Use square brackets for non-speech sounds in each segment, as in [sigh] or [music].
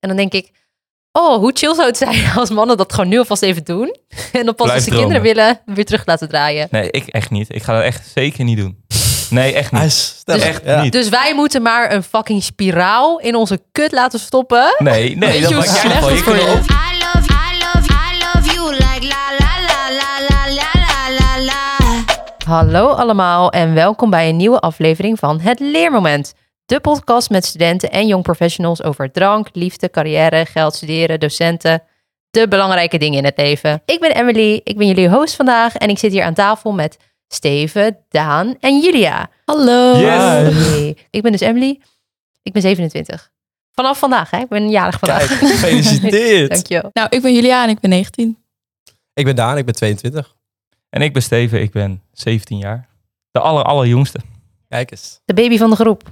En dan denk ik, oh, hoe chill zou het zijn [laughs] als mannen dat gewoon nu alvast even doen. [laughs] En dan pas Blijf als ze dromen. kinderen willen, weer terug laten draaien. Nee, ik echt niet. Ik ga dat echt zeker niet doen. Nee, echt Hij niet. is stellig. Dus- Echt Ja. niet. Dus wij moeten maar een fucking spiraal in onze kut laten stoppen. Nee, nee, Weet dat je hoe maakt slecht jij nog wel. het Je voor kunt je er ook is? I love, I love, I love you like la la la la la la la la la. Hallo allemaal en welkom bij een nieuwe aflevering van Het Leermoment. De podcast met studenten en jong professionals over drank, liefde, carrière, geld, studeren, docenten. De belangrijke dingen in het leven. Ik ben Emily, ik ben jullie host vandaag en ik zit hier aan tafel met Steven, Daan en Julia. Hallo. Yes. Hey, Ik ben dus Emily, ik ben 27. Vanaf vandaag, hè? ik ben jarig vandaag. Gefeliciteerd. [laughs] Dankjewel. Nou, ik ben Julia en ik ben 19. [laughs] ik ben Daan, ik ben 22. En ik ben Steven, ik ben 17 jaar. De aller, allerjongste. [laughs] [laughs] Kijk eens. De baby van de groep.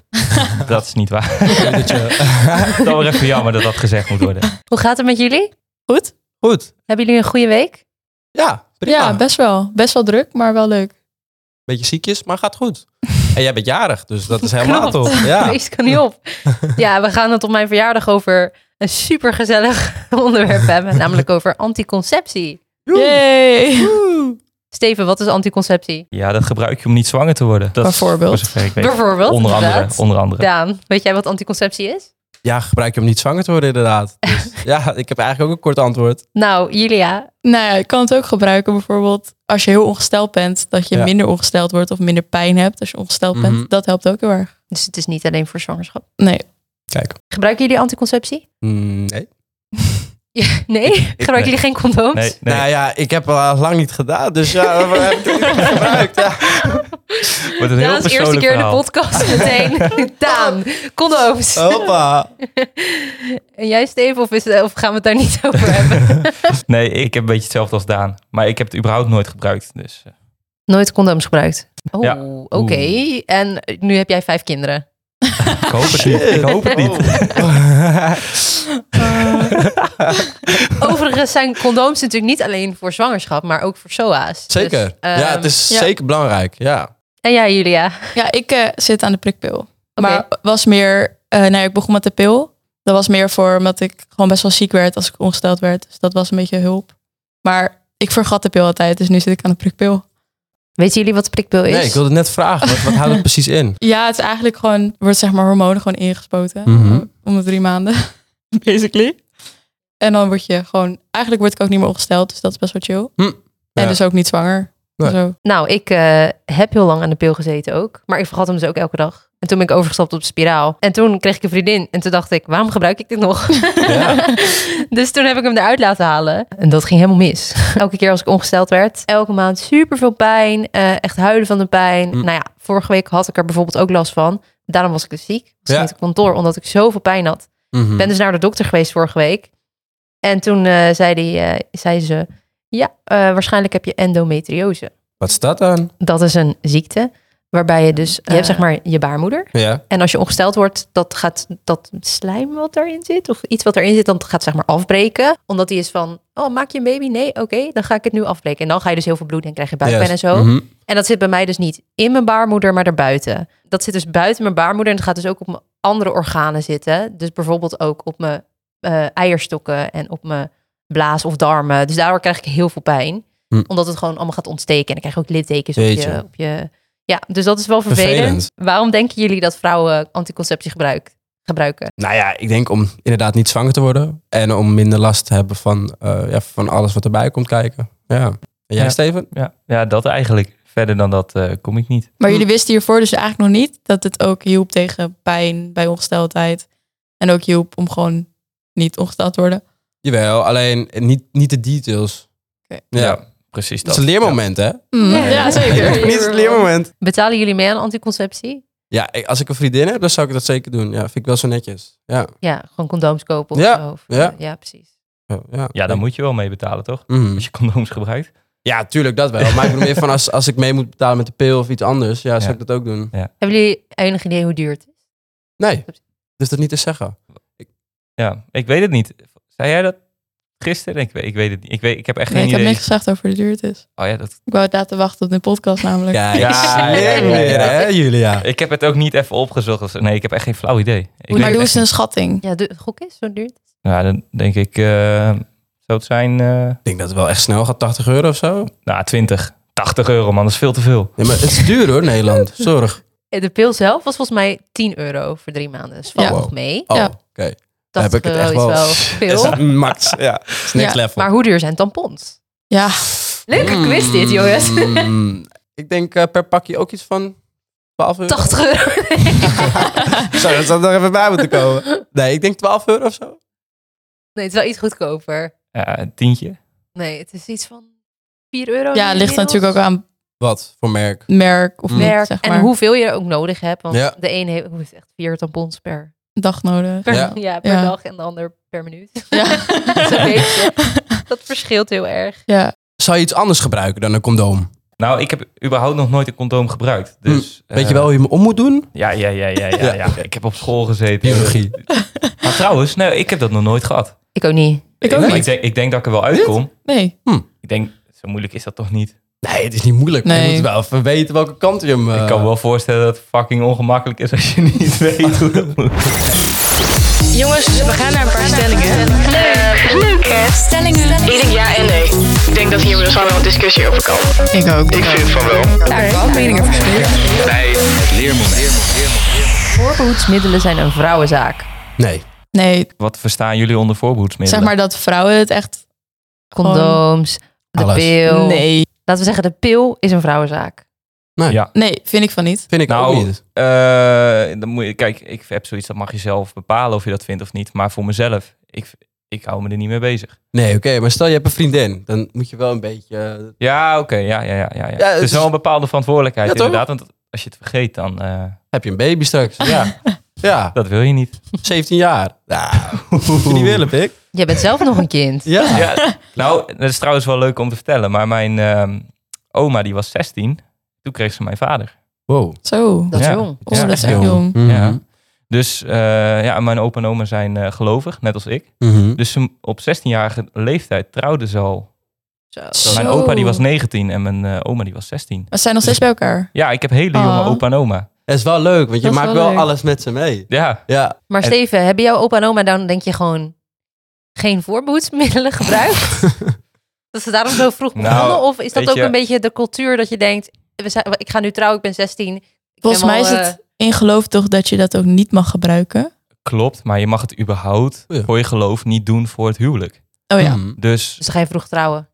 Dat is niet waar. Dat je- Dat was even jammer dat dat gezegd moet worden. Hoe gaat het met jullie? Goed? Goed. Hebben jullie een goede week? Ja, prima. Ja, best wel. Best wel druk, maar wel leuk. Beetje ziekjes, maar gaat goed. [laughs] En jij bent jarig, dus dat is helemaal Klopt. top. Ja. Deze kan niet op. Ja, we gaan het op mijn verjaardag over een supergezellig [laughs] onderwerp hebben. Namelijk over anticonceptie. Yay! Steven, wat is anticonceptie? Ja, dat gebruik je om niet zwanger te worden. Dat is Bijvoorbeeld. voor zover ik weet. Bijvoorbeeld. Onder andere. inderdaad. Onder andere. Daan, weet jij wat anticonceptie is? ja, gebruik je om niet zwanger te worden [laughs] inderdaad. Dus, ja, ik heb eigenlijk ook een kort antwoord. Nou, Julia. Nou ja, je kan het ook gebruiken bijvoorbeeld als je heel ongesteld bent. Dat je Ja. minder ongesteld wordt of minder pijn hebt als je ongesteld Mhm. bent. Dat helpt ook heel erg. Dus het is niet alleen voor zwangerschap. Nee. Kijk. Gebruiken jullie anticonceptie? [laughs] Mm, nee. Nee? Gebruiken jullie geen condooms? Nee, nee. Nou ja, ik heb al lang niet gedaan, dus ja, [laughs] we hebben het niet gebruikt. [laughs] Ja. Wordt een heel Daan's eerste persoonlijk keer in de verhaal. podcast [laughs] meteen. Daan, condooms. Oh. Hoppa. Dus, En jij Steven, of, is het- of gaan we het daar niet [laughs] over hebben? Nee, ik heb een beetje hetzelfde als Daan. Maar ik heb het überhaupt nooit gebruikt. Dus eh, Nooit condooms gebruikt. Oh, Ja. oké. En nu heb jij vijf [laughs] kinderen. ik hoop het niet. Ik hoop het niet. Oh. Overigens zijn condooms natuurlijk niet alleen voor zwangerschap, maar ook voor SOA's. Zeker. Dus, ehm, ja, het is ja. zeker belangrijk. Ja. En jij, Julia? Ja, ik eh, zit aan de prikpil. Oké. Maar was meer, eh nee, ik begon met de pil. Dat was meer voor omdat ik gewoon best wel ziek werd als ik ongesteld werd. Dus dat was een beetje hulp. Maar ik vergat de pil altijd, dus nu zit ik aan de prikpil. Weten jullie wat de prikpil is? Nee, ik wilde net vragen, wat, wat houdt het precies [laughs] in? Ja, het is eigenlijk gewoon, wordt zeg maar hormonen gewoon ingespoten. Mhm. Om de drie maanden, [laughs] basically. En dan word je gewoon, eigenlijk word ik ook niet meer ongesteld, dus dat is best wel chill. Hm, ja. En dus ook niet zwanger. Nee. Zo. Nou, ik eh, heb heel lang aan de pil gezeten ook. Maar ik vergat hem dus ook elke dag. En toen ben ik overgestapt op de spiraal. En toen kreeg ik een vriendin. En toen dacht ik, waarom gebruik ik dit nog? Ja. dus toen heb ik hem eruit laten halen. En dat ging helemaal mis. [laughs] Elke keer als ik ongesteld werd. Elke maand super veel pijn. eh, echt huilen van de pijn. Mm. Nou ja, vorige week had ik er bijvoorbeeld ook last van. Daarom was ik dus ziek. Was Ja. niet op kantoor, omdat ik zoveel pijn had. Mhm. Ik ben dus naar de dokter geweest vorige week. En toen eh, zei, die, eh, zei ze, ja, eh, waarschijnlijk heb je endometriose. Wat is dat dan? Dat is een ziekte waarbij je dus, je Ah. hebt zeg maar je baarmoeder. Ja. En als je ongesteld wordt, dat gaat dat slijm wat daarin zit, of iets wat erin zit, dan gaat zeg maar afbreken. Omdat die is van, oh, maak je een baby? Nee, oké, dan ga ik het nu afbreken. En dan ga je dus heel veel bloed en krijg je buikpijn Juist. en zo. Mhm. En dat zit bij mij dus niet in mijn baarmoeder, maar daarbuiten. Dat zit dus buiten mijn baarmoeder en het gaat dus ook op mijn andere organen zitten. Dus bijvoorbeeld ook op mijn eh, eierstokken en op mijn blaas of darmen. Dus daardoor krijg ik heel veel pijn. Hm. Omdat het gewoon allemaal gaat ontsteken. En dan krijg je ook littekens op Jeetje. je, op je... Ja, dus dat is wel vervelend. Vervelend. Waarom denken jullie dat vrouwen anticonceptie gebruik, gebruiken? Nou ja, ik denk om inderdaad niet zwanger te worden. En om minder last te hebben van, eh, ja, van alles wat erbij komt kijken. Ja. En jij, Ja. Steven? Ja, ja, dat eigenlijk. Verder dan dat eh, kom ik niet. Maar jullie wisten hiervoor dus eigenlijk nog niet dat het ook hielp tegen pijn bij ongesteldheid. En ook hielp om gewoon niet ongesteld te worden. Jawel, alleen niet, niet de details. Oké. Ja. Dus precies. Dat is een leermoment, hè? Mm, Ja. ja, Ja. zeker. Niet het leermoment. Betalen jullie mee aan anticonceptie? Ja, ik- als ik een vriendin heb, dan zou ik dat zeker doen. Ja, vind ik wel zo netjes. Ja, Ja, gewoon condooms kopen of Ja, zo. Of, eh, ja. ja, precies. ja, ja. Ja, daar moet je wel mee betalen, Hm. toch? Mhm. Als je condooms gebruikt. Ja, tuurlijk dat wel. Maar ik bedoel meer van als, als ik mee moet betalen met de pil of iets anders, ja, zou Ja. ik dat ook doen. Hebben jullie enig idee hoe duur het is? Nee, dus dat niet te zeggen. Ja, ik weet het niet. Zei jij dat? Gisteren? Ik, weet- ik weet het niet. Ik, weet, ik heb echt Nee, geen ik heb idee. niks gezegd over de duur het is. Oh ja, dat, Ik wou het laten wachten op de podcast namelijk. Ja, Ja, ja, ja, ja, weer, ja. hè, Julia? ik heb het ook niet even opgezocht. of zo. Nee, ik heb echt geen flauw idee. Ik weet maar het doe echt eens een schatting. Ja, de gok is zo duur. niet. Nou, dan denk ik, eh, zou het zijn, eh, Ik denk dat het wel echt snel gaat, 80 euro of zo. nou, 20, 80 euro man, dat is veel te veel. Ja, maar het is duur hoor, Nederland. [laughs] Zorg. Eh, De pil zelf was volgens mij 10 euro voor drie maanden. Dus valt Ja. nog mee. Oh, Ja. oké. Dan 80 heb ik het euro echt eh, is wel. [laughs] wel Is veel. het max, ja. Is niks Ja. level. Maar hoe duur zijn tampons? Ja, Leuke Mm, quiz dit, [laughs] jongens. [laughs] mm, ik denk eh, per pakje ook iets van 12 euro. [laughs] 80 euro. Sorry, dat zou er even bij moeten komen. Nee, ik denk 12 euro of zo. Nee, het is wel iets goedkoper. Ja, een tientje. Nee, het is iets van 4 euro. ja het ligt natuurlijk ook aan Wat voor merk? merk of Mm. niet, werk zeg en maar. hoeveel je er ook nodig hebt. Want Ja. de een heeft, heeft echt vier tampons per, dag nodig. per, [laughs] ja. Ja. per Ja. dag en de ander per minuut. [laughs] Ja. [laughs] Zo'n beetje. Dat verschilt heel erg. [laughs] ja. Zou je iets anders gebruiken dan een condoom? Nou, ik heb überhaupt nog nooit een condoom gebruikt. Hm, Dus, Weet je eh, wel hoe je hem om moet doen? Ja, ja, ja, ja, ja, ja. Ik heb op school gezeten. Biologie. Maar trouwens, nee, ik heb dat nog nooit gehad. Ik ook niet. Ik ook maar Ik niet. denk, ik denk dat ik er wel uitkom. Nee. Ik denk, zo moeilijk is dat toch niet? Nee, het is niet moeilijk. Nee. Je moet wel even weten welke kant je hem... eh, Ik kan me wel voorstellen dat het fucking ongemakkelijk is als je [laughs] niet weet hoe dat moet. Jongens, we gaan naar een paar stellingen. Leuk. Leuk, hè? Stellingen. Ik denk ja en nee. Ik denk dat hier dus wel een discussie over kan. Ik ook. Voorbehoedsmiddelen zijn een vrouwenzaak. Nee. Nee, Wat verstaan jullie onder zeg voorbehoedsmiddelen? maar dat vrouwen het echt... Gewoon- Condooms, de Alles. pil. Nee. Laten we zeggen, de pil is een vrouwenzaak. Nee. Ja. Nee, vind ik van niet. Vind ik Nou, ook niet. Eh, dan moet je, kijk, ik heb zoiets, dat mag je zelf bepalen of je dat vindt of niet. Maar voor mezelf, ik, ik hou me er niet mee bezig. Nee, oké. maar stel je hebt een vriendin. Dan moet je wel een beetje... eh, Ja, oké, ja, ja, ja, ja, ja. Ja, Het het is is- wel een bepaalde verantwoordelijkheid, Ja, toch? inderdaad. Want als je het vergeet, dan... eh, heb je een baby straks. [laughs] ja, Ja, dat wil je niet. 17 jaar. Ja, moet je niet willen, pik. Jij bent zelf nog een kind. Ja. Ja, nou, dat is trouwens wel leuk om te vertellen. Maar mijn ehm, oma, die was 16. Toen kreeg ze mijn vader. Wow. Mhm. Zo. Dat is Ja. jong. Oh, Ja, dat is echt echt jong. Ja. Dus eh, ja, mijn opa en oma zijn eh, gelovig, net als ik. Mhm. Dus ze- op 16-jarige leeftijd trouwden ze al. Zo. Mijn opa die was 19 en mijn eh, oma die was 16. Maar ze zijn nog steeds bij elkaar. Ja, ik heb hele jonge Oh. opa en oma. Het is wel leuk, want je Dat is maakt wel wel leuk. alles met ze mee. Ja, Ja. Maar En- Steven, hebben jouw opa en oma dan denk je gewoon geen [laughs] voorbehoedsmiddelen gebruikt? dat ze daarom zo vroeg Nou, begonnen? of is dat weet ook je- een beetje de cultuur dat je denkt, we zijn, ik ga nu trouwen, ik ben 16. ik Volgens ben mij is wel, eh, het in geloof toch dat je dat ook niet mag gebruiken. klopt. Maar je mag het überhaupt Oh ja. voor je geloof niet doen voor het huwelijk. Oh ja. Mhm. Dus Dus dan ga je vroeg trouwen.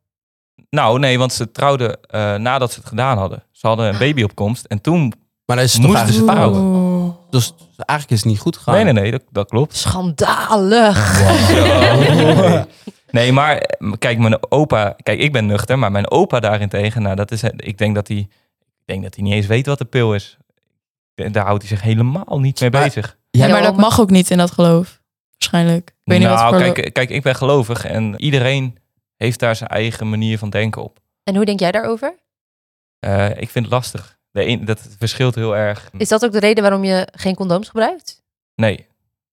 Nou, nee, want ze trouwden eh, nadat ze het gedaan hadden. Ze hadden een baby op komst en toen... Maar dan is het toch Moesten eigenlijk ze trouwen? Oeh. Dus eigenlijk is het niet goed gegaan. Nee, nee, nee, dat, dat klopt. Schandalig. [laughs] Nee, maar eh, kijk, mijn opa... Kijk, ik ben nuchter, maar mijn opa daarentegen... Nou, dat is, ik denk dat hij... Ik denk dat hij niet eens weet wat de pil is. En Daar houdt hij zich helemaal niet mee Maar- bezig. Ja, Ja, maar dat maar- mag ook niet in dat geloof. Waarschijnlijk. Ik weet niet wat nou, voor... kijk, kijk, ik ben gelovig en iedereen heeft daar zijn eigen manier van denken op. En hoe denk jij daarover? Eh, ik vind het lastig. De een, dat verschilt heel erg. Is dat ook de reden waarom je geen condooms gebruikt? Nee,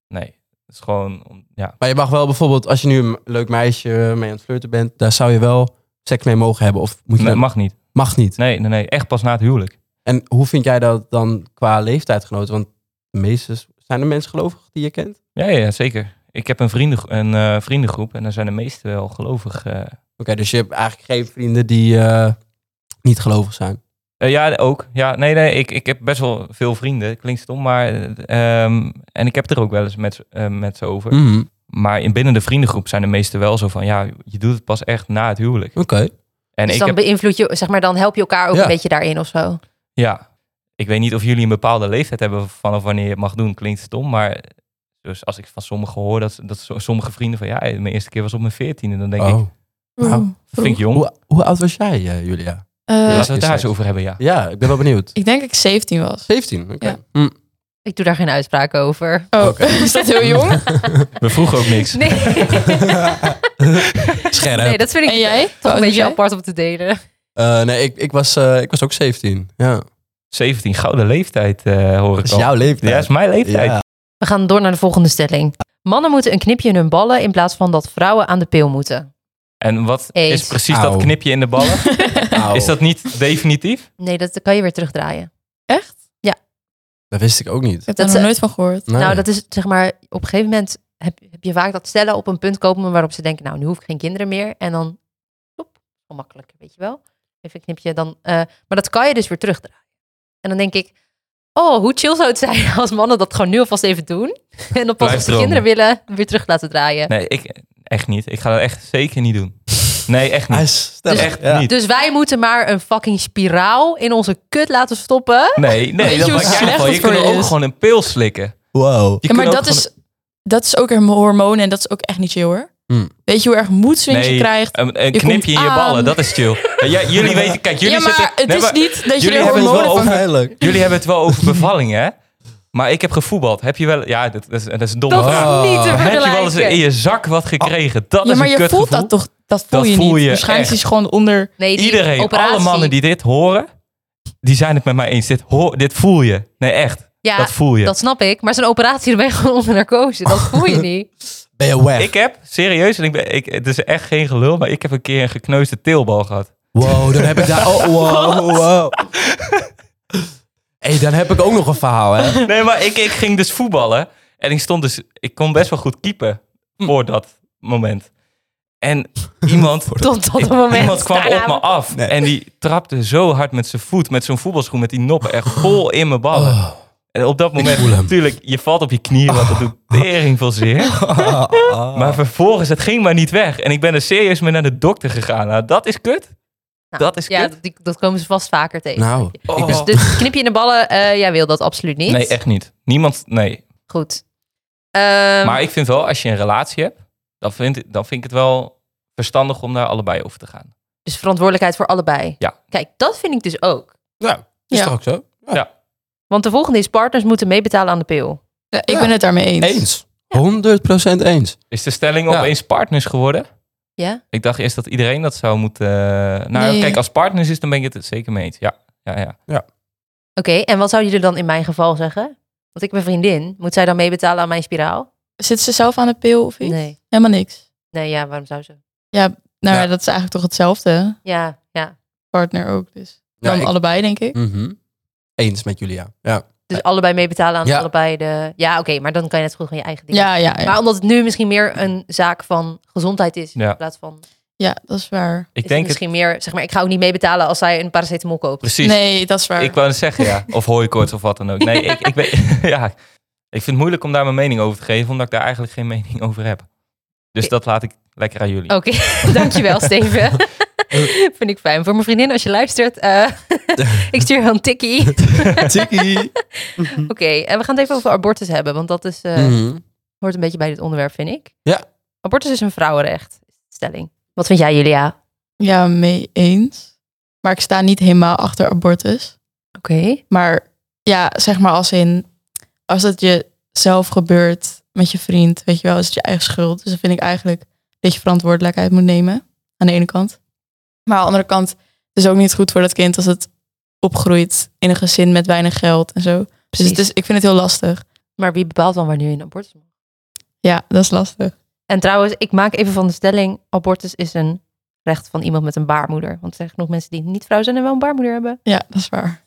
nee. Het is gewoon... om- Ja. Maar je mag wel bijvoorbeeld, als je nu een leuk meisje mee aan het flirten bent, daar zou je wel seks mee mogen hebben. Of moet je Nee, dat- mag niet. mag niet. Nee, nee, nee. Echt pas na het huwelijk. En hoe vind jij dat dan qua leeftijdgenoten? Want de meeste zijn er mensen gelovig die je kent. Oké, Ja, ja, ja, zeker. Ik heb een, vrienden, een eh, vriendengroep en daar zijn de meesten wel gelovig. eh. dus je hebt eigenlijk geen vrienden die eh, niet gelovig zijn. Eh, ja, ook. Ja, nee, nee. Ik, ik heb best wel veel vrienden. Klinkt stom, maar... eh, ehm, en ik heb het er ook wel eens met, eh, met ze over. Mhm, Maar in binnen de vriendengroep zijn de meesten wel zo van... Ja, je doet het pas echt na het huwelijk. Oké. En dus ik dan heb... beïnvloed je, zeg maar, dan help je elkaar ook Ja. een beetje daarin of zo. Ja. Ik weet niet of jullie een bepaalde leeftijd hebben vanaf wanneer je het mag doen. Klinkt stom, maar... Dus als ik van sommigen hoor dat, dat zo- sommige vrienden van... Ja, mijn eerste keer was op mijn veertiende. Dan denk ik, Oh. Nou, Oeh. dat vind ik jong. Hoe, hoe oud was jij, eh, Julia? Eh, Laten we het daar Seks. eens over hebben, ja. Ja, ik ben wel benieuwd. [laughs] ik denk dat ik 17 was. 17, oké. Ja. Mm. Ik doe daar geen uitspraak [laughs] over. Oh, Oké. is dat heel jong? We vroegen ook [laughs] niks. Nee, Scherp. nee dat vind ik [laughs] En jij? toch een Hoe oud was beetje jij? apart om te delen. Eh, nee, ik, ik, was, eh, ik was ook 17. Ja. 17, gouden leeftijd eh, hoor Dat ik is al. jouw leeftijd. Ja, is mijn leeftijd. Ja. We gaan door naar de volgende stelling. Mannen moeten een knipje in hun ballen in plaats van dat vrouwen aan de pil moeten. En wat Eens. is precies Auw. dat knipje in de ballen? Auw, Is dat niet definitief? Nee, dat kan je weer terugdraaien. Echt? Dat wist ik ook niet. Ik heb daar Dat nog ze- nooit van gehoord. Nee. Nou, dat is zeg maar, op een gegeven moment heb, heb je vaak dat stellen op een punt komen waarop ze denken, nou, nu hoef ik geen kinderen meer. En dan, oep, wel makkelijk, weet je wel. Even een knipje dan. eh, maar dat kan je dus weer terugdraaien. En dan denk ik, oh, hoe chill zou het zijn [laughs] als mannen dat gewoon nu alvast even doen. [laughs] En dan pas als ze dromen. kinderen willen, weer terug laten draaien. Nee, ik echt niet. Ik ga dat echt zeker niet doen. Nee, echt niet. stel echt niet. Dus wij moeten maar een fucking spiraal in onze kut laten stoppen. Nee, nee, je dat hoe maakt jij slecht wel. Je kunt dat voor je ook is? gewoon een pil slikken. Wow. Je Ja, maar kunt ook dat is, gewoon- dat is ook een hormoon en dat is ook echt niet chill hoor. Hmm. Weet je hoe erg moedswings je Nee, krijgt? een, een Je knipje in komt je ballen, aan. dat is chill. Ja, jij- jullie weten, kijk, jullie [laughs] ja, maar zitten... het nee, is maar niet dat je jullie er hebben het hormonen wel van... Onveilig. Jullie hebben het wel over bevallingen, hè? Maar ik heb gevoetbald. Heb je wel... Ja, dat, dat is, dat is een domme Dat vraag. is niet te Heb je wel eens vergelijken. in je zak wat gekregen? Dat Ja, is maar een je voelt kutgevoel. dat toch? Dat voel Dat je voel niet. je Waarschijnlijk echt. is het gewoon onder... Nee, die Iedereen, operatie- alle mannen die dit horen, die zijn het met mij eens. Dit, hoor, dit voel je. Nee, echt. Ja, dat dat, voel je. snap ik. Maar zo'n operatie, [laughs] daar ben je gewoon onder narcose. Dat voel [laughs] je niet. Ben je weg? Ik heb, serieus, en ik ben, ik, het is echt geen gelul, maar ik heb een keer een gekneusde teelbal gehad. Wow, dan heb ik daar... Oh, [laughs] wow, wow. hey, dan heb ik ook nog een verhaal, hè. [laughs] Nee, maar ik, ik ging dus voetballen. En ik stond dus... Ik kon best wel goed keepen voor dat moment. [laughs] En iemand... Tot Mm. dat ik- moment. Nou, Iemand kwam Daarna- op me af. Nee. En die trapte zo hard met zijn voet, met zo'n voetbalschoen, met die noppen, echt vol in mijn ballen. Oh. Oh. En op dat voel moment, hem. natuurlijk, je valt op je knieën, want dat doet tering veel zeer. Oh. Oh. [laughs] Maar vervolgens, het ging maar niet weg. En ik ben er serieus mee naar de dokter gegaan. Nou, dat is kut. Nou, dat is ja, kut. die- dat komen ze vast vaker tegen. Nou, Oh. Dus, dus knip je in de ballen, eh, jij wil dat absoluut niet. Nee, echt niet. Niemand, nee. Goed. Ehm, Maar ik vind wel, als je een relatie hebt, dan vind, ik- dan vind ik het wel verstandig om daar allebei over te gaan. Dus verantwoordelijkheid voor allebei. Ja. Kijk, dat vind ik dus ook. nou is Ja. toch ook zo? Want de volgende is partners moeten meebetalen aan de pil. Ja, ik Ja. ben het daarmee eens. Eens. 100% eens. Is de stelling Ja. opeens partners geworden? Ja? Ik dacht eerst dat iedereen dat zou moeten... eh, Nou, Nee. kijk, als partners is, dan ben ik het zeker mee eens. Ja, ja, ja. Oké, en wat zou jullie dan in mijn geval zeggen? Want ik ben vriendin. Moet zij dan meebetalen aan mijn spiraal? Zit ze zelf aan de pil of iets? Nee. Helemaal niks. Nee, ja, waarom zou ze? Nou, Ja. dat is eigenlijk toch hetzelfde. Ja, ja. Partner ook, dus. Ja, Dan ik- allebei, denk ik. Mhm. Eens met Julia. Ja. Dus allebei meebetalen aan Ja. allebei de... Ja, oké, maar dan kan je net zo goed gewoon je eigen ding. Ja, ja, ja. Maar omdat het nu misschien meer een zaak van gezondheid is. Ja. In plaats van... Ja, dat is waar. Ik is het denk het... misschien meer... Zeg maar, ik ga ook niet meebetalen als zij een paracetamol koopt. Precies. Nee, dat is waar. Ik wou het zeggen, ja. Of hooikoorts of wat dan ook. Nee, ik, ik, ben, [laughs] ja. ik vind het moeilijk om daar mijn mening over te geven, omdat ik daar eigenlijk geen mening over heb. Dus dat laat ik lekker aan jullie. Oké, [laughs] dankjewel Steven. Vind ik fijn. Voor mijn vriendin, als je luistert, eh, [laughs] ik stuur wel een tikkie. [laughs] Oké, Tikkie. en we gaan het even over abortus hebben, want dat is, eh, Mhm. hoort een beetje bij dit onderwerp, vind ik. Ja. Abortus is een vrouwenrecht, is de stelling. Wat vind jij, Julia? Ja, mee eens. Maar ik sta niet helemaal achter abortus. Oké. Dus Maar ja, zeg maar als in... Als het je zelf gebeurt met je vriend, weet je wel, is het je eigen schuld. Dus dan vind ik eigenlijk dat je verantwoordelijkheid moet nemen. Aan de ene kant. Maar aan de andere kant, het is ook niet goed voor dat kind als het opgroeit in een gezin met weinig geld en zo. Dus het is, ik vind het heel lastig. Maar wie bepaalt dan wanneer je een abortus mag? Ja, dat is lastig. En trouwens, ik maak even van de stelling, abortus is een recht van iemand met een baarmoeder. Want er zijn nog mensen die niet vrouw zijn en wel een baarmoeder hebben. Ja, dat is waar.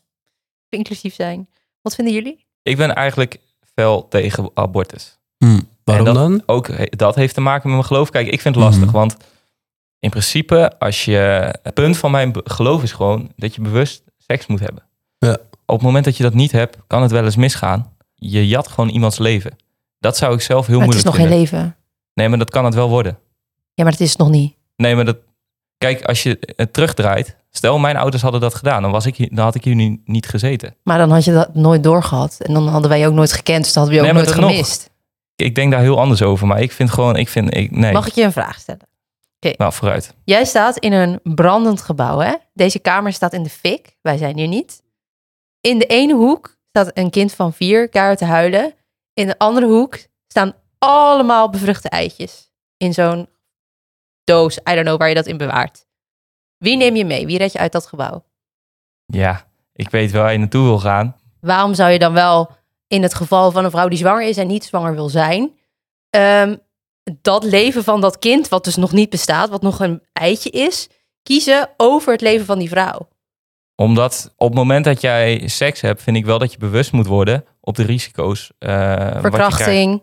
Inclusief zijn. Wat vinden jullie? Ik ben eigenlijk fel tegen abortus. Hm, Waarom En dan? Ook he- dat heeft te maken met mijn geloof. Kijk, ik vind het lastig, Mhm. want in principe, als je. Het punt van mijn be- geloof is gewoon dat je bewust seks moet hebben. Ja. Op het moment dat je dat niet hebt, kan het wel eens misgaan. Je jat gewoon iemands leven. Dat zou ik zelf heel Maar het is moeilijk nog geen vinden. leven. nee, maar dat kan het wel worden. Ja, maar het is het nog niet. Nee, maar dat. Kijk, als je het terugdraait. Stel, mijn ouders hadden dat gedaan. Dan, was ik, hier- dan had ik hier nu niet gezeten. Maar dan had je dat nooit doorgehad. En dan hadden wij je ook nooit gekend. Dus dan hadden we je ook Nee, maar nooit dat nog. gemist. Ik denk daar heel anders over. Maar ik vind gewoon. Ik vind, ik, nee. Mag ik je een vraag stellen? Nou, vooruit. Jij staat in een brandend gebouw, hè? Deze kamer staat in de fik. Wij zijn hier niet. In de ene hoek staat een kind van vier keihard te huilen. In de andere hoek staan allemaal bevruchte eitjes. In zo'n doos, I don't know waar je dat in bewaart. Wie neem je mee? Wie red je uit dat gebouw? Ja, ik weet waar je naartoe wil gaan. Waarom zou je dan wel in het geval van een vrouw die zwanger is en niet zwanger wil zijn, ehm, dat leven van dat kind, wat dus nog niet bestaat, wat nog een eitje is, kiezen over het leven van die vrouw. Omdat op het moment dat jij seks hebt, vind ik wel dat je bewust moet worden op de risico's. eh, wat je krijgt. Verkrachting.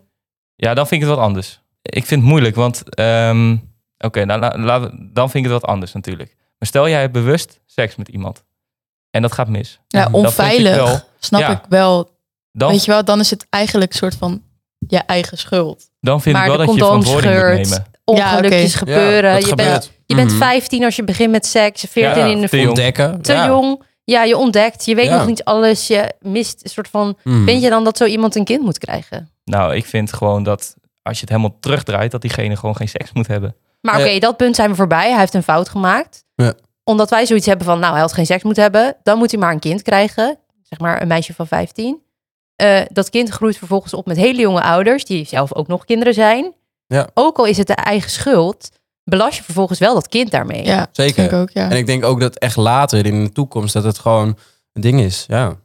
Ja, dan vind ik het wat anders. Ik vind het moeilijk, want ehm, oké, nou, la- laten we- dan vind ik het wat anders natuurlijk. Maar stel jij hebt bewust seks met iemand en dat gaat mis. Ja, Dat vind ik onveilig. wel. snap Ja. ik wel. Dan, Weet je wel, dan is het eigenlijk een soort van je eigen schuld. dan vind ik maar wel de dat je condoom verantwoording scheurt. moet nemen. Ongelukjes oké. gebeuren. Ja, je, dat bent, gebeurt. je bent Mhm. 15 als je begint met seks, 14 Ja, in de te jong. Ontdekken. te ja. jong. Ja, je ontdekt. Je weet Ja. nog niet alles. Je mist een soort van. Mhm. Vind je dan dat zo iemand een kind moet krijgen? Nou, ik vind gewoon dat als je het helemaal terugdraait, dat diegene gewoon geen seks moet hebben. Maar oké, dat punt zijn we voorbij. Hij heeft een fout gemaakt. Ja. Omdat wij zoiets hebben van, nou, hij had geen seks moeten hebben. Dan moet hij maar een kind krijgen. Zeg maar een meisje van 15. Eh, dat kind groeit vervolgens op met hele jonge ouders, die zelf ook nog kinderen zijn. Ja. Ook al is het de eigen schuld, belast je vervolgens wel dat kind daarmee. Ja, dat Zeker. vind ik ook, ja. En ik denk ook dat echt later in de toekomst dat het gewoon een ding is. Ja.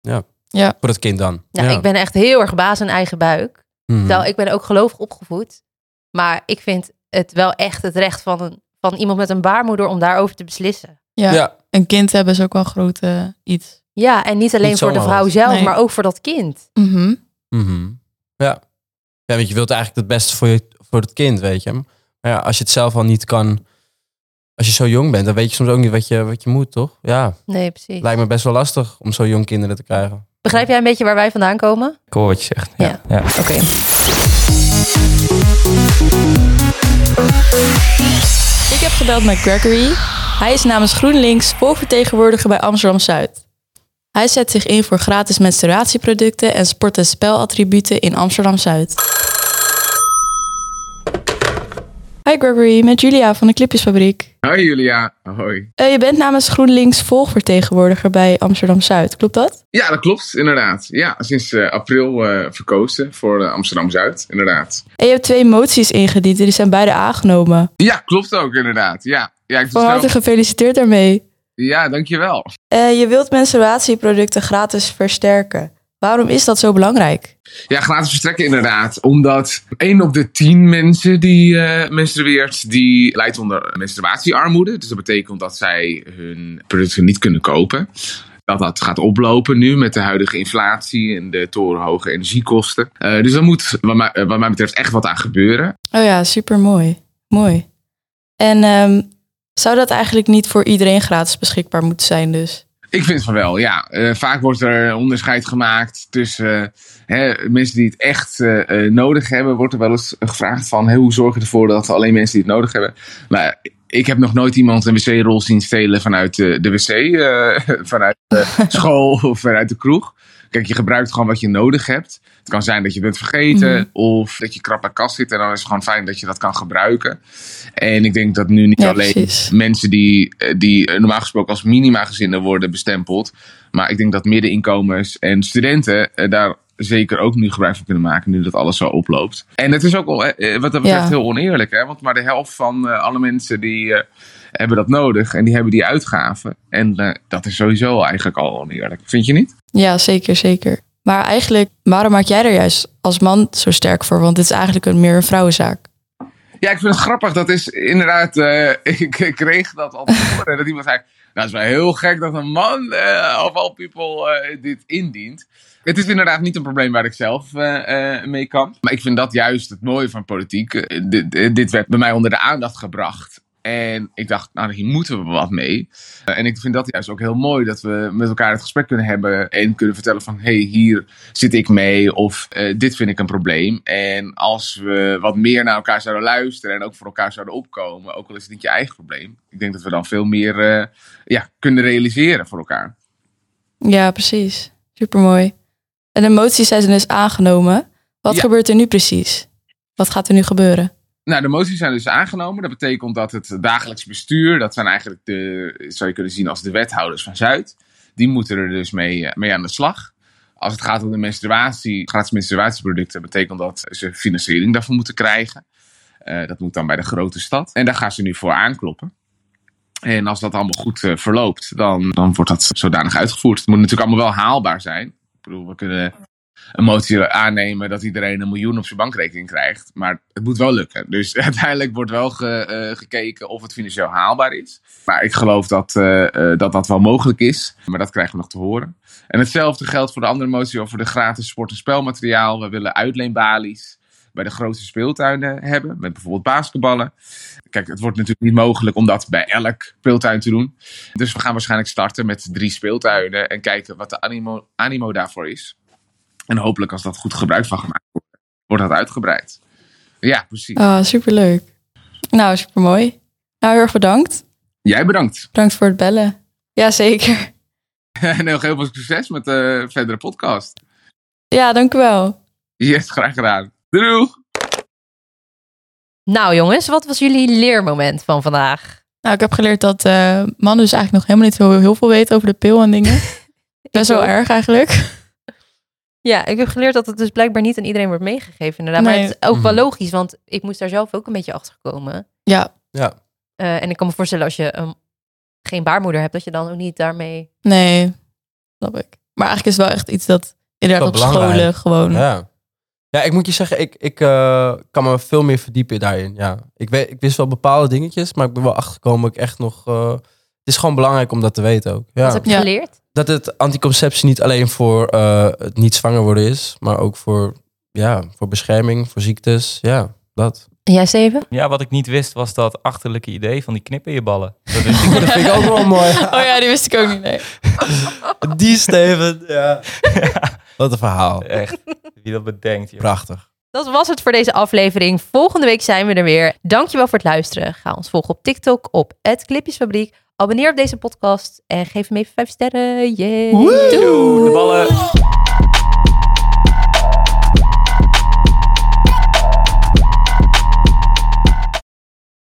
Ja. Ja. Voor dat kind dan. Nou, Ik ben echt heel erg baas in eigen buik. Mhm. Terwijl ik ben ook gelovig opgevoed. Maar ik vind het wel echt het recht van, een, van iemand met een baarmoeder om daarover te beslissen. Ja. Ja. Een kind hebben is ook wel een groot eh, iets. Ja, en niet alleen Niet voor de zomaar vrouw wat. zelf, Nee. maar ook voor dat kind. Mhm. Mhm. Ja. ja, want je wilt eigenlijk het beste voor, je, voor het kind, weet je. Maar ja, als je het zelf al niet kan, als je zo jong bent, dan weet je soms ook niet wat je, wat je moet, toch? Ja, Nee, precies. lijkt me best wel lastig om zo jong kinderen te krijgen. Begrijp jij een beetje waar wij vandaan komen? Ik hoor wat je zegt. Ja. Ja. ja. Oké. Ik heb gebeld met Gregory. Hij is namens GroenLinks voorvertegenwoordiger bij Amsterdam Zuid. Hij zet zich in voor gratis menstruatieproducten en sport- en spelattributen in Amsterdam Zuid. Hi Gregory, met Julia van de Clipjesfabriek. Hoi Julia. Hoi. Eh, je bent namens GroenLinks volgvertegenwoordiger bij Amsterdam Zuid, klopt dat? Ja, dat klopt, inderdaad. Ja, sinds eh, april eh, verkozen voor eh, Amsterdam-Zuid, inderdaad. En je hebt twee moties ingediend en die zijn beide aangenomen. Ja, klopt ook, inderdaad. Ja, ja, ik Van doe het harte wel. gefeliciteerd daarmee. ja dankjewel. Eh, je wilt menstruatieproducten gratis versterken. Waarom is dat zo belangrijk? Ja, gratis verstrekken inderdaad. Omdat 1 op de 10 mensen die eh menstrueert, die lijdt onder menstruatiearmoede. Dus dat betekent dat zij hun producten niet kunnen kopen. Dat dat gaat oplopen nu met de huidige inflatie en de torenhoge energiekosten. Eh, dus daar moet wat mij, eh, wat mij betreft echt wat aan gebeuren. Oh ja, super mooi. Mooi. En ehm, zou dat eigenlijk niet voor iedereen gratis beschikbaar moeten zijn, dus? Ik vind van wel, ja. Eh, vaak wordt er onderscheid gemaakt tussen eh, hè, mensen die het echt eh, eh, nodig hebben. Wordt er wel eens gevraagd van, hè, hoe zorg je ervoor dat alleen mensen die het nodig hebben. Maar ik heb nog nooit iemand een wc-rol zien stelen vanuit eh, de wc, eh, [laughs] vanuit de school of vanuit de kroeg. Kijk, je gebruikt gewoon wat je nodig hebt. Het kan zijn dat je bent vergeten of dat je krap aan kast zit. En dan is het gewoon fijn dat je dat kan gebruiken. En ik denk dat nu niet Ja, alleen precies. mensen die, eh, die eh, normaal gesproken als minimagezinnen worden bestempeld. Maar ik denk dat middeninkomens en studenten eh, daar zeker ook nu gebruik van kunnen maken. Nu dat alles zo oploopt. En het is ook al, eh, eh, wat dat betreft Ja. heel oneerlijk. Hè? Want maar de helft van eh, alle mensen die eh, hebben dat nodig. En die hebben die uitgaven. En eh, dat is sowieso eigenlijk al oneerlijk. Vind je niet? Ja, zeker, zeker. Maar eigenlijk, waarom maak jij er juist als man zo sterk voor? Want dit is eigenlijk een, meer een vrouwenzaak. Ja, ik vind het grappig. Dat is inderdaad. eh, [laughs] ik, ik kreeg dat al te horen. dat iemand zei. Nou, het is wel heel gek dat een man eh of all people eh, dit indient. Het is inderdaad niet een probleem waar ik zelf eh, eh, mee kan. Maar ik vind dat juist het mooie van politiek. Eh, dit, eh, dit werd bij mij onder de aandacht gebracht. En ik dacht, nou, hier moeten we wat mee. Eh, en ik vind dat juist ook heel mooi dat we met elkaar het gesprek kunnen hebben. En kunnen vertellen van, hey, hier zit ik mee. Of eh, dit vind ik een probleem. En als we wat meer naar elkaar zouden luisteren. En ook voor elkaar zouden opkomen. Ook al is het niet je eigen probleem. Ik denk dat we dan veel meer eh, ja, kunnen realiseren voor elkaar. Ja, precies. Supermooi. En de moties zijn dus aangenomen. Wat Ja. gebeurt er nu precies? Wat gaat er nu gebeuren? Nou, de moties zijn dus aangenomen. Dat betekent dat het dagelijks bestuur, dat zijn eigenlijk de, zou je kunnen zien als de wethouders van Zuid, die moeten er dus mee, eh, mee aan de slag. Als het gaat om de menstruatie, gratis menstruatieproducten, betekent dat ze financiering daarvoor moeten krijgen. Eh, dat moet dan bij de grote stad. En daar gaan ze nu voor aankloppen. En als dat allemaal goed eh, verloopt, dan, dan wordt dat zodanig uitgevoerd. Het moet natuurlijk allemaal wel haalbaar zijn. Ik bedoel, we kunnen een motie aannemen dat iedereen een miljoen op zijn bankrekening krijgt. Maar het moet wel lukken. Dus [laughs] uiteindelijk wordt wel ge- eh, gekeken of het financieel haalbaar is. Maar ik geloof dat, eh, eh, dat dat wel mogelijk is. Maar dat krijgen we nog te horen. En hetzelfde geldt voor de andere motie over de gratis sport- en spelmateriaal. We willen uitleenbalies bij de grootste speeltuinen hebben. Met bijvoorbeeld basketballen. Kijk, het wordt natuurlijk niet mogelijk om dat bij elk speeltuin te doen. Dus we gaan waarschijnlijk starten met drie speeltuinen. En kijken wat de animo, animo daarvoor is. En hopelijk als dat goed gebruik van gemaakt wordt, wordt dat uitgebreid. Ja, precies. Ah, superleuk. Nou, supermooi. Nou, heel erg bedankt. Jij bedankt. [laughs] Bedankt voor het bellen. Jazeker. En heel veel succes met de verdere podcast. Ja, dank u wel. Yes, graag gedaan. Doeg! Nou jongens, wat was jullie leermoment van vandaag? Nou, ik heb geleerd dat eh, mannen dus eigenlijk nog helemaal niet zo heel veel weten over de pil en dingen. Best wel ook. erg eigenlijk. Ja, ik heb geleerd dat het dus blijkbaar niet aan iedereen wordt meegegeven. Inderdaad. Maar Nee. het is ook wel Mhm. logisch, want ik moest daar zelf ook een beetje achter komen. Ja, Ja. Eh, en ik kan me voorstellen als je ehm, geen baarmoeder hebt, dat je dan ook niet daarmee. nee. Snap ik. Maar eigenlijk is het wel echt iets dat inderdaad op Wel belangrijk. scholen gewoon... Ja. Ja, ik moet je zeggen, ik, ik eh, kan me veel meer verdiepen daarin. Ja. Ik, weet, ik wist wel bepaalde dingetjes, maar ik ben wel achtergekomen dat ik echt nog... eh, het is gewoon belangrijk om dat te weten ook. Ja. Wat heb je Ja. geleerd? dat het anticonceptie niet alleen voor eh, het niet zwanger worden is, maar ook voor, ja, voor bescherming, voor ziektes. Ja, [laughs] dat. En jij, Steven? Ja, wat ik niet wist was dat achterlijke idee van die knip in je ballen. Dat wist ik. [laughs] Dat vind ik ook wel [laughs] mooi. [laughs] Oh ja, die wist ik ook niet. Nee. Die Steven, ja. Wat een verhaal. Echt, wie dat bedenkt. joh. Prachtig. Dat was het voor deze aflevering. Volgende week zijn we er weer. Dankjewel voor het luisteren. Ga ons volgen op TikTok op @clipjesfabriek. Abonneer op deze podcast en geef hem even 5 sterren. Yeah. De ballen.